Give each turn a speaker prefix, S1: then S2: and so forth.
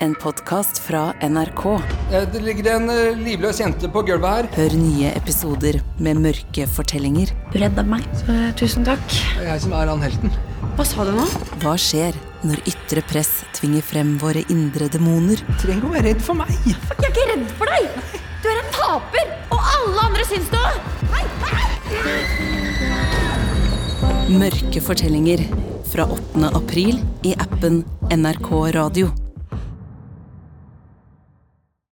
S1: En podkast fra NRK.
S2: Eh, Det ligger en eh, livløs jente på gulvet her.
S1: Hør nye episoder med mørke fortellinger.
S3: Du redda meg, så tusen takk.
S2: Det er eh, jeg som er han helten.
S3: Hva sa du nå?
S1: Hva skjer når ytre press tvinger frem våre indre demoner?
S2: Trenger å være redd for meg.
S3: Jeg er ikke redd for deg! Du er en taper! Og alle andre syns det òg!
S1: Mørke fortellinger fra 8. april i appen NRK Radio.